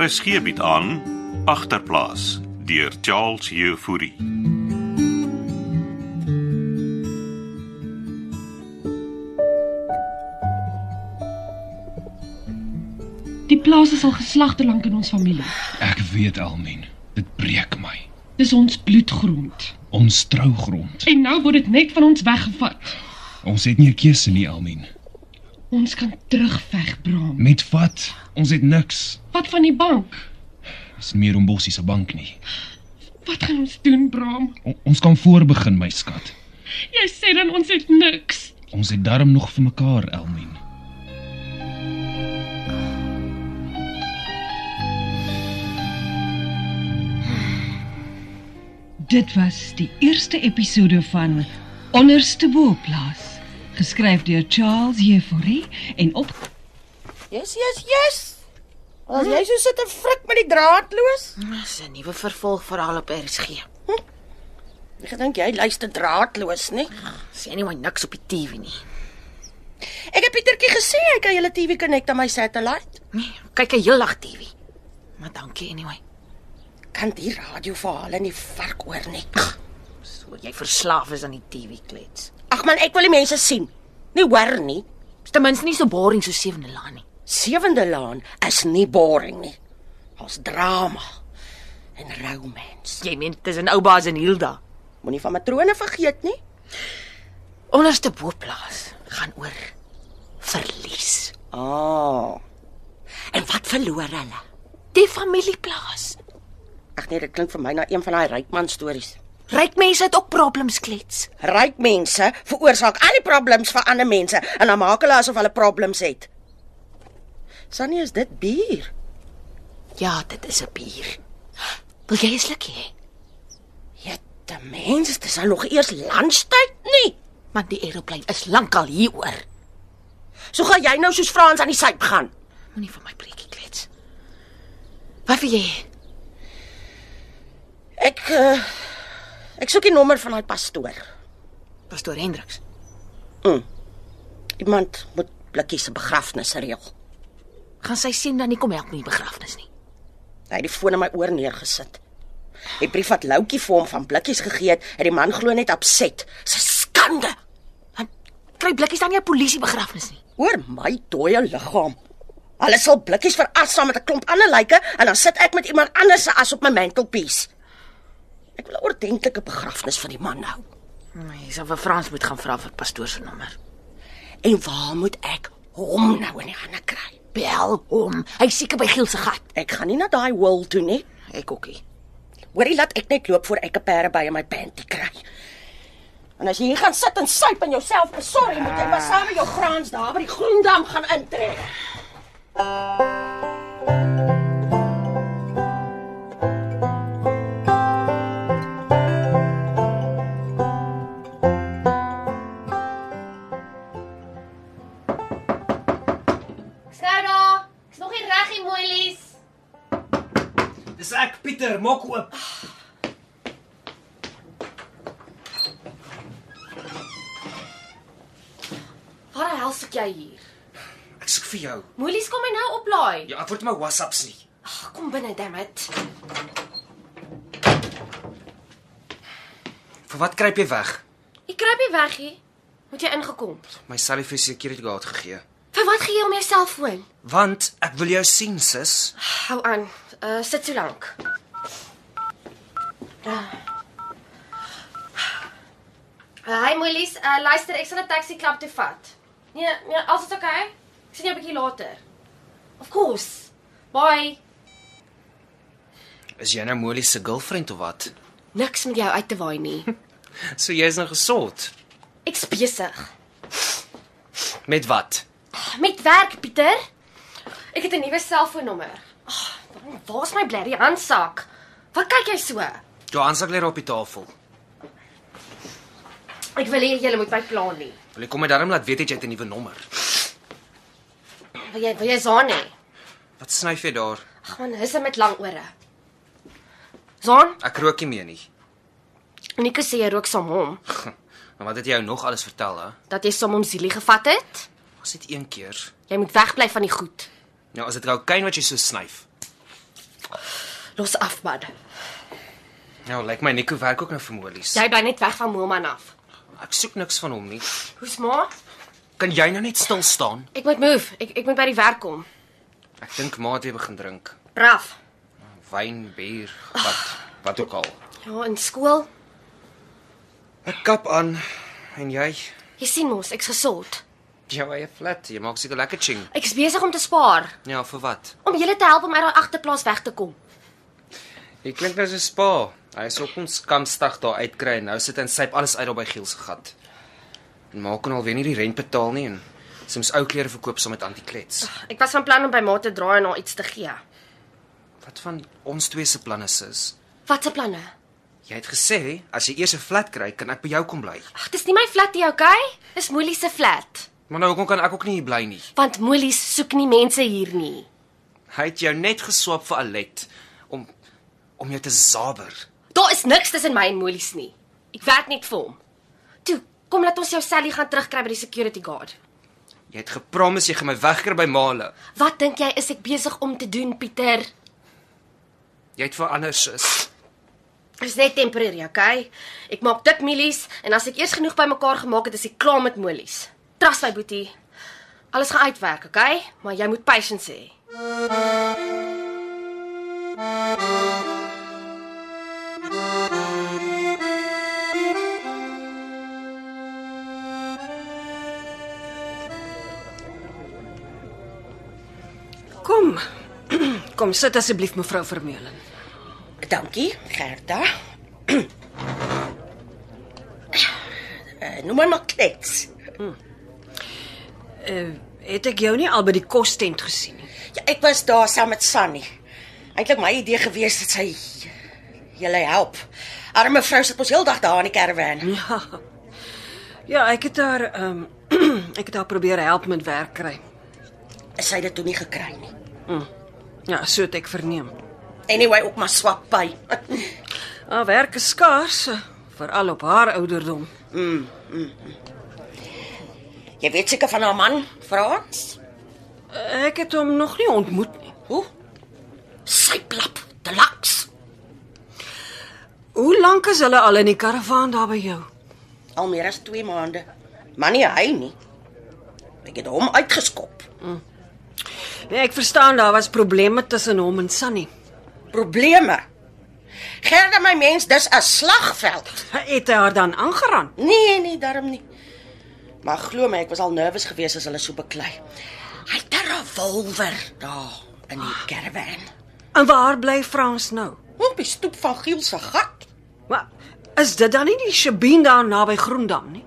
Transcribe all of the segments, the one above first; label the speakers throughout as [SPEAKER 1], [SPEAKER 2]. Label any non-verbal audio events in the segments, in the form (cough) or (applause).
[SPEAKER 1] RSG bied Er aan agterplaas deur Charles Jefouri.
[SPEAKER 2] Die plaas is al geslagte lank in ons familie.
[SPEAKER 3] Ek weet Almen, dit breek my.
[SPEAKER 2] Dis ons bloedgrond.
[SPEAKER 3] Ons trougrond.
[SPEAKER 2] En nou word dit net van ons weggevat.
[SPEAKER 3] Ons het nie 'n keuse nie, Almen.
[SPEAKER 2] Ons kan terugveg, Bram.
[SPEAKER 3] Met wat? Ons het niks.
[SPEAKER 2] Wat van die bank?
[SPEAKER 3] Dis nie meer om Bossie se bank nie.
[SPEAKER 2] Wat gaan ons doen, Bram?
[SPEAKER 3] O, ons kan voorbegin, my skat.
[SPEAKER 2] Jy sê dan ons het niks.
[SPEAKER 3] Ons het darm nog vir mekaar, Almen.
[SPEAKER 4] Dit was die eerste episode van Onderste Boplaas, geskryf deur Charles Jefouri en op
[SPEAKER 5] Yes, yes, yes. Mhm. As jy so sit en frik met die draadloos,
[SPEAKER 6] Dis 'n nuwe vervolgverhaal op RSG.
[SPEAKER 5] ek gedink jy luister draadloos, nê?
[SPEAKER 6] Sien nie my niks op die TV nie.
[SPEAKER 5] Ek het Pietertjie gesê hy kan julle TV connect aan my satellite.
[SPEAKER 6] Nee, kyk hy heel lag TV. Maar dankie anyway.
[SPEAKER 5] Kan die radioverhale nie vark oor nie.
[SPEAKER 6] So jy verslaaf is aan die TV klets.
[SPEAKER 5] Ag man, ek wil die mense sien. Nie hoor nie.
[SPEAKER 6] Dis ten minste nie so boring so sewende laan nie.
[SPEAKER 5] Sewende Laan is nie boring nie. Ons drama en romance.
[SPEAKER 6] Jy meen tussen oubaas en Hilda.
[SPEAKER 5] Moenie van matrone vergeet nie.
[SPEAKER 6] Onderste boplaas gaan oor verlies.
[SPEAKER 5] Ah. En wat verloor hulle?
[SPEAKER 6] Die familieplaas.
[SPEAKER 5] Ag nee, dit klink vir my na een van daai rykman stories.
[SPEAKER 6] Ryk mense het ook problems klets.
[SPEAKER 5] Ryk mense veroorsaak al die problems vir ander mense en dan maak hulle asof hulle problems het. Sannie, is dit bier?
[SPEAKER 6] Ja, dit is 'n bier. Wil jy 'n slukkie hê?
[SPEAKER 5] Jette mense, dis al nog eers lunchtyd nie.
[SPEAKER 6] Want die aeroplaan is lankal hieroor.
[SPEAKER 5] So gaan jy nou soos Frans aan die suip gaan.
[SPEAKER 6] Moenie van my preekie klets. Wat wil jy? hê?
[SPEAKER 5] Ek uh, ek soek die nommer van daai pastoor.
[SPEAKER 6] Pastoor Hendriks.
[SPEAKER 5] Iemand moet blikkies se begrafnis reël.
[SPEAKER 6] Gaan sy sien dan nie kom help met die begrafnis nie.
[SPEAKER 5] Hy het die foon in my oor neergesit. Die brief wat Loukie vir hom van blikkies gegee het, het die man glo net opset. Dis 'n skande
[SPEAKER 6] Want kry blikkies dan nie 'n polisie begrafnis nie.
[SPEAKER 5] oor my dooie liggaam. Hulle sal blikkies veras saam met 'n klomp ander lyke en dan sit ek met iemand anders se as op my mantelpiece. Ek wil 'n ordentlike begrafnis vir die man hou.
[SPEAKER 6] Nee, sy vir Frans moet gaan vra vir pastoor se nommer.
[SPEAKER 5] En waar moet ek hom nou in die hande kry?
[SPEAKER 6] Bel hom. Hy seker by Giel se gat.
[SPEAKER 5] Ek gaan nie na daai wil toe nie.
[SPEAKER 6] Ek ookie.
[SPEAKER 5] Hoorie, laat ek net loop voor ek 'n perde by in my panty kry. En as jy hier gaan sit en suip en jouself besorg, moet jy maar saam met jou graans daar by die Groendam gaan intrek.
[SPEAKER 7] Skerda, ek's nog nie reg nie, Moelies.
[SPEAKER 8] Dis ek Pieter, maak oop.
[SPEAKER 7] Waar die hel soek jy hier?
[SPEAKER 8] Ek soek vir jou.
[SPEAKER 7] Moelies kom my nou oplaai.
[SPEAKER 8] Jy antwoord my WhatsApps nie.
[SPEAKER 7] Ag, kom binne, dammit.
[SPEAKER 8] Vir wat kruip jy weg?
[SPEAKER 7] Ek kruip nie weg hier. Moet jy ingekom.
[SPEAKER 8] My selfie security guard gegee.
[SPEAKER 7] Vir wat gee jy om jou selfoon?
[SPEAKER 8] Want ek wil jou sien, sis.
[SPEAKER 7] Hou aan. Uh sit so lank. Ah. Uh, hi Moelies, uh luister, ek sal 'n taxi klap toe vat. Nee, nee, alles is oukei. Okay. Ek sien jou 'n bietjie later. Of course. Bye.
[SPEAKER 8] Is jy nou Molly se girlfriend of wat?
[SPEAKER 7] Niks met jou uit te waai nie.
[SPEAKER 8] So jy's nou gesort.
[SPEAKER 7] Ek's besig.
[SPEAKER 8] Met wat?
[SPEAKER 7] Met werk, Pieter. Ek het 'n nuwe selfoonnommer. Ag, waarom- waar's my blerrie handsak? Wat kyk jy so?
[SPEAKER 8] Jou aansak lê daar op die tafel.
[SPEAKER 7] Ek wil hê jy moet my plan nie.
[SPEAKER 8] Wil jy kom my darm laat weet het jy het 'n nuwe nommer?
[SPEAKER 7] Wil jy wil jy Zaan hê?
[SPEAKER 8] Wat snyf jy daar?
[SPEAKER 7] Ag man, hisse met lang ore. Zaan,
[SPEAKER 8] Ek rook nie meer nie.
[SPEAKER 7] Nico sê jy rook saam hom,
[SPEAKER 8] Maar wat het jy jou nog alles vertel, hè?
[SPEAKER 7] dat jy saam hom Zielie gevat het.
[SPEAKER 8] Was dit een keer?
[SPEAKER 7] Jy moet wegbly van die goed.
[SPEAKER 8] Nou, as dit gou kyn wat jy so snyf.
[SPEAKER 7] Los af man.
[SPEAKER 8] Nou, lyk my Nico werk ook nou vir Molies.
[SPEAKER 7] Jy bly net weg van Moelman af.
[SPEAKER 8] Ek soek niks van hom nie.
[SPEAKER 7] Hoe's ma?
[SPEAKER 8] Kan jy nou net stil staan?
[SPEAKER 7] Ek moet move. Ek ek moet by die werk kom.
[SPEAKER 8] Ek dink ma het weer begin drink.
[SPEAKER 7] Braaf.
[SPEAKER 8] Wyn, bier, wat wat ook al.
[SPEAKER 7] Ja, in skool.
[SPEAKER 8] Ek kap aan en jy
[SPEAKER 7] Jy sien mos, ek's gesond.
[SPEAKER 8] jou eie flat, jy maak seker lekker ching.
[SPEAKER 7] Ek's besig om te spaar
[SPEAKER 8] Ja, vir wat?
[SPEAKER 7] om julle te help om uit daai agterplaas weg te kom.
[SPEAKER 8] Jy klink nou so spa. Hy sou ons kamstig daar uitkry en nou sit en syp alles uit daar by Giel se gat. En maak kon alweer nie die rent betaal nie en soms ou klere verkoop saam met antiklets.
[SPEAKER 7] Ek was van plan om by ma te draai en haar iets te gee.
[SPEAKER 8] Wat van ons twee se planne sis?
[SPEAKER 7] Wat se planne?
[SPEAKER 8] Jy het gesê as jy eers 'n flat kry, kan ek by jou kom bly.
[SPEAKER 7] Ag, dis nie my flat hier, okay? Dis Moelie se flat.
[SPEAKER 8] Maar nou hoekom kan ek ook nie hier bly nie?
[SPEAKER 7] Want Moelie soek nie mense hier nie.
[SPEAKER 8] Hy het jou net geswap vir Alet om om jou te saber.
[SPEAKER 7] Daar is niks tussen my en Moelies nie. Ek werk net vir hom. Toe, kom laat ons jou Sally gaan terugkry by die security guard.
[SPEAKER 8] Jy het gepromis jy gaan my wegkry by Male.
[SPEAKER 7] Wat dink jy is ek besig om te doen, Pieter?
[SPEAKER 8] Jy het verander sis.
[SPEAKER 7] Dis net temporêr, okay? Ek maak dik mielies en as ek eers genoeg bymekaar gemaak het, is ek klaar met Moelies. Trust my, boetie. Alles gaan uitwerk, okay? Maar jy moet patience hê.
[SPEAKER 6] Kom. (clears throat) Kom sit asseblief mevrou Vermeulen.
[SPEAKER 5] Dankie, Gerda. Eh, Noem my maar klets.
[SPEAKER 6] Het ek jou nie al by die kostent gesien nie?
[SPEAKER 5] Ja, ek was daar saam met Sunny. Eintlik my idee gewees dat sy julle help. Arme vrou sit ons heeldag daar in die karavaan.
[SPEAKER 6] Ja. Ja, ek het haar ehm (clears throat) ek het haar probeer help met werk kry.
[SPEAKER 5] Sy het dit toe nie gekry nie.
[SPEAKER 6] Ja, so het ek verneem.
[SPEAKER 5] Anyway, ook maar swak by.
[SPEAKER 6] Haar werk is skaars, eh, veral op haar ouderdom.
[SPEAKER 5] (laughs) Jy weet seker van haar man, Frans?
[SPEAKER 6] Ek het hom nog nie ontmoet nie.
[SPEAKER 5] Hoe? Sy plap, te laks.
[SPEAKER 6] Hoe lank is hulle al in die karavaan daar by jou?
[SPEAKER 5] Al meer as 2 maande. Maar nie hy nie. Ek het hom uitgeskop.
[SPEAKER 6] Nee, ek verstaan daar was probleme tussen hom en Sunny.
[SPEAKER 5] Probleme. Gerda my mens, dis 'n slagveld.
[SPEAKER 6] Het hy haar dan aangeraan?
[SPEAKER 5] Nee, nee, daarom nie. Maar glo my, ek was al nervus geweest as hulle so beklei. Hy het 'n revolver daar in die karavaan.
[SPEAKER 6] En waar bly Frans nou?
[SPEAKER 5] Op die stoep van Giel se gat.
[SPEAKER 6] Maar is dit dan nie die Shebeen daar naby Groendam nie?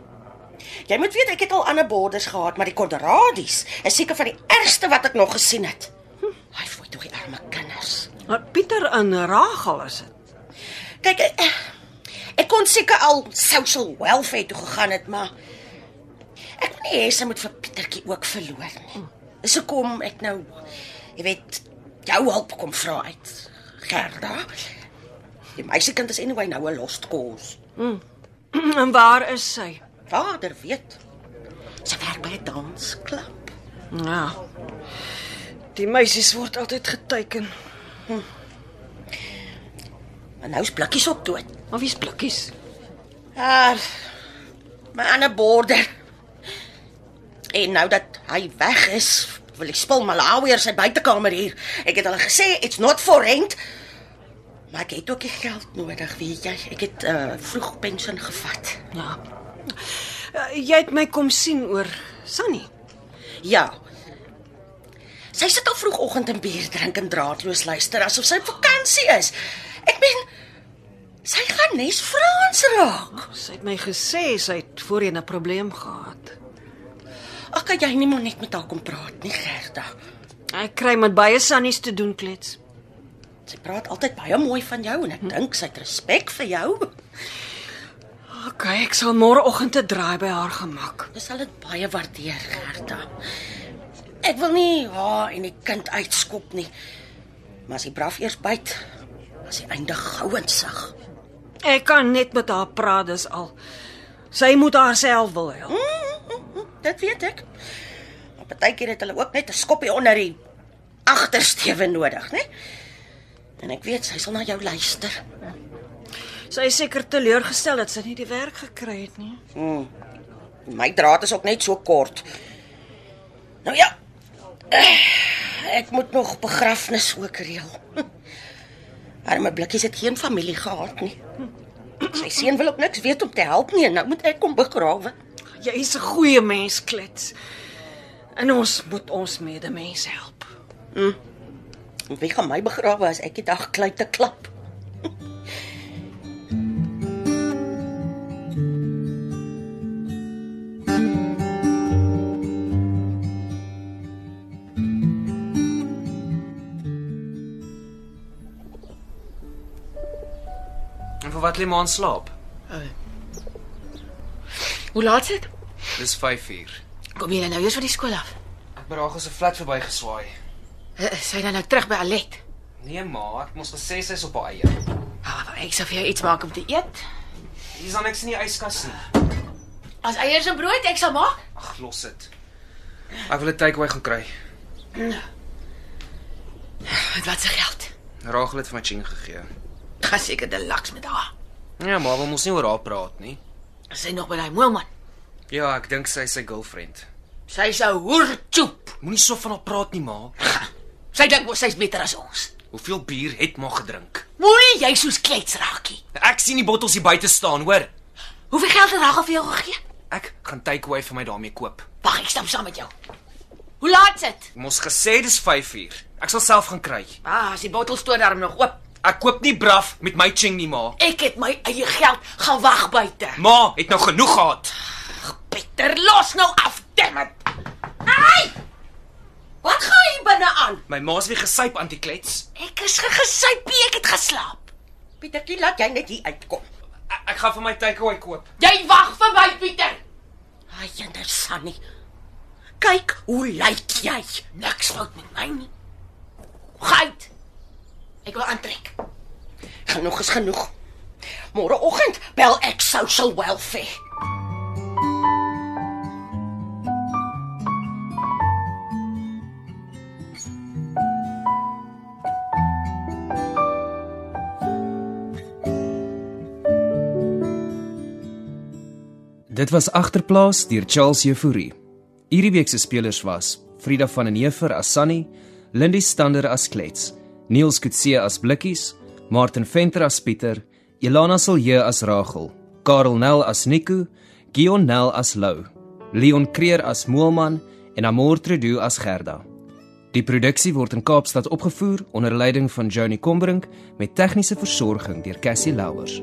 [SPEAKER 5] Jy moet weet ek het al ander borders gehad, maar die Konradies is seker van die ergste wat ek nog gesien het. Hm, Hy fooi tog die arme kinders.
[SPEAKER 6] Maar Pieter en Rachel is dit.
[SPEAKER 5] Kyk, ek, ek kon seker al social welfare toe gegaan het, maar ek wil nie hê sy moet vir Pietertjie ook verloor nie. Dis hoekom ek nou jy weet jou hulp kom vra uit. Gerda. Die meisiekind is anyway nou 'n lost cause.
[SPEAKER 6] En waar is sy?
[SPEAKER 5] Vader weet. Sy werk by 'n dansklub.
[SPEAKER 6] Ja. Die meisies word altyd geteken.
[SPEAKER 5] En nou is blikkies op dood.
[SPEAKER 6] Maar wie's blikkies?
[SPEAKER 5] Ah, my ander border. En nou dat hy weg is, wil ek spul Malawi in sy buitekamer hier. Ek het hulle gesê it's not for rent. Maar ek het ook die geld nodig, weet jy. Ek het uh, vroeg pensioen gevat.
[SPEAKER 6] Ja. Eh, Jy het my kom sien oor Sunny.
[SPEAKER 5] Ja. Sy sit al vroegoggend en bier drink en draadloos luister asof sy op vakansie is. Ek meen sy gaan nes Frans raak.
[SPEAKER 6] Sy het my gesê sy het voorheen 'n probleem gehad.
[SPEAKER 5] Ag, kan jy nie maar net met haar kom praat nie, Gerda.
[SPEAKER 6] Ek kry met baie Sunnies te doen klets.
[SPEAKER 5] Sy praat altyd baie mooi van jou en ek dink sy het respek vir jou.
[SPEAKER 6] OK, ek sal môreoggend 'n draai by haar gemaak.
[SPEAKER 5] Dis al dit baie waardeer, Gerda. Ek wil nie haar en die kind uitskop nie. Maar as hy braaf eers byt, as hy eindig gou en sag.
[SPEAKER 6] Ek kan net met haar praat dis al. Sy moet haarself wil help.
[SPEAKER 5] Dit weet ek. Maar partykeer het hulle ook net 'n skoppie onder die agtersteuwe nodig, né? En ek weet sy sal na jou luister.
[SPEAKER 9] Sy is seker teleurgestel dat sy nie die werk gekry het nie.
[SPEAKER 5] Hmm. My draad is ook net so kort. Nou ja. Eh, Ek moet nog begrafnis ook reël. (laughs) Arme blikkies het geen familie gehad nie. Sy seun wil ook niks weet om te help nie en nou moet ek kom begrawe.
[SPEAKER 9] Jy is 'n goeie mens, Klits. En ons moet ons medemens help.
[SPEAKER 5] Wie gaan my begrawe as ek die dag kluit te klap?
[SPEAKER 8] En vir wat lê maan slaap?
[SPEAKER 6] Hoe laat is dit?
[SPEAKER 8] Dis 5uur.
[SPEAKER 6] Kom jy nou eers van die skool af?
[SPEAKER 8] Ek by Ragel se flat verby geswaai.
[SPEAKER 6] Eh, Is sy dan nou terug by Alet?
[SPEAKER 8] Nee ma, ek moes gesê sy's op haar eie.
[SPEAKER 6] Ah, ek sal vir jou iets maak om te eet.
[SPEAKER 8] Hier's dan niks in die yskas nie.
[SPEAKER 6] As eiers en brood, ek sal maak.
[SPEAKER 8] Ag, los dit. Ek wil 'n takeaway gaan kry.
[SPEAKER 6] Met wat se geld?
[SPEAKER 8] Ragel het vir my ching gegee.
[SPEAKER 6] Gaan seker deluxe met haar.
[SPEAKER 8] Ja, maar wil mos nie oor haar praat nie.
[SPEAKER 6] Is sy nog by daai moelman?
[SPEAKER 8] Ja, ek dink sy is sy girlfriend.
[SPEAKER 6] Sy is 'n hoertjoep.
[SPEAKER 8] Moenie so van haar praat nie, ma.
[SPEAKER 6] Sy dink mos sy's beter as ons.
[SPEAKER 8] Hoeveel bier het ma gedrink?
[SPEAKER 6] Moenie jy soos klets raakie.
[SPEAKER 8] Ek sien die bottels hier buite staan, hoor.
[SPEAKER 6] Hoeveel geld het Ragga vir jou gegee?
[SPEAKER 8] Ek gaan takeaway vir my daarmee koop.
[SPEAKER 6] Wag, ek stap saam met jou. Hoe laat is dit?
[SPEAKER 8] Ek mos gesê dis 5uur. Ek sal self gaan kry.
[SPEAKER 6] Ah, as die bottels toe daarom nog oop.
[SPEAKER 8] Ek koop nie braaf met my ching nie, ma.
[SPEAKER 6] Ek het my eie geld gaan wag buite.
[SPEAKER 8] Ma het nou genoeg gehad.
[SPEAKER 6] Pieter, los nou af, dammit. Ai! Wat gaan jy binne aan?
[SPEAKER 8] My ma's weer gesyp antiklets.
[SPEAKER 6] Ek is gegesypie, ek het geslaap.
[SPEAKER 5] Pietertjie, laat jy net hier uitkom.
[SPEAKER 8] E, Ek, ek gaan vir my takeaway koop.
[SPEAKER 6] Jy wag vir my, Pieter.
[SPEAKER 5] Ai, jender Sunny. Kyk hoe lyk jy.
[SPEAKER 6] Niks fout met my nie. Gait. Ek wil aantrek.
[SPEAKER 5] Genoeg is genoeg. Môreoggend bel ek social welfare.
[SPEAKER 8] Dit was agterplaas deur Charles Jefouri. Hierdie week se spelers was Frida van den Heever as Sunny, Lindy Stander as Klets, Niels Kutse as Blikkies, Martin Venter as Pieter, Elana Silje as Ragel, Karel Nel as Nico, Gion Nel as Lou, Leon Creer as Moelman en Amor Tredu as Gerda. Die produksie word in Kaapstad opgevoer onder leiding van Johnny Combrink met tegniese versorging deur Cassie Louwers.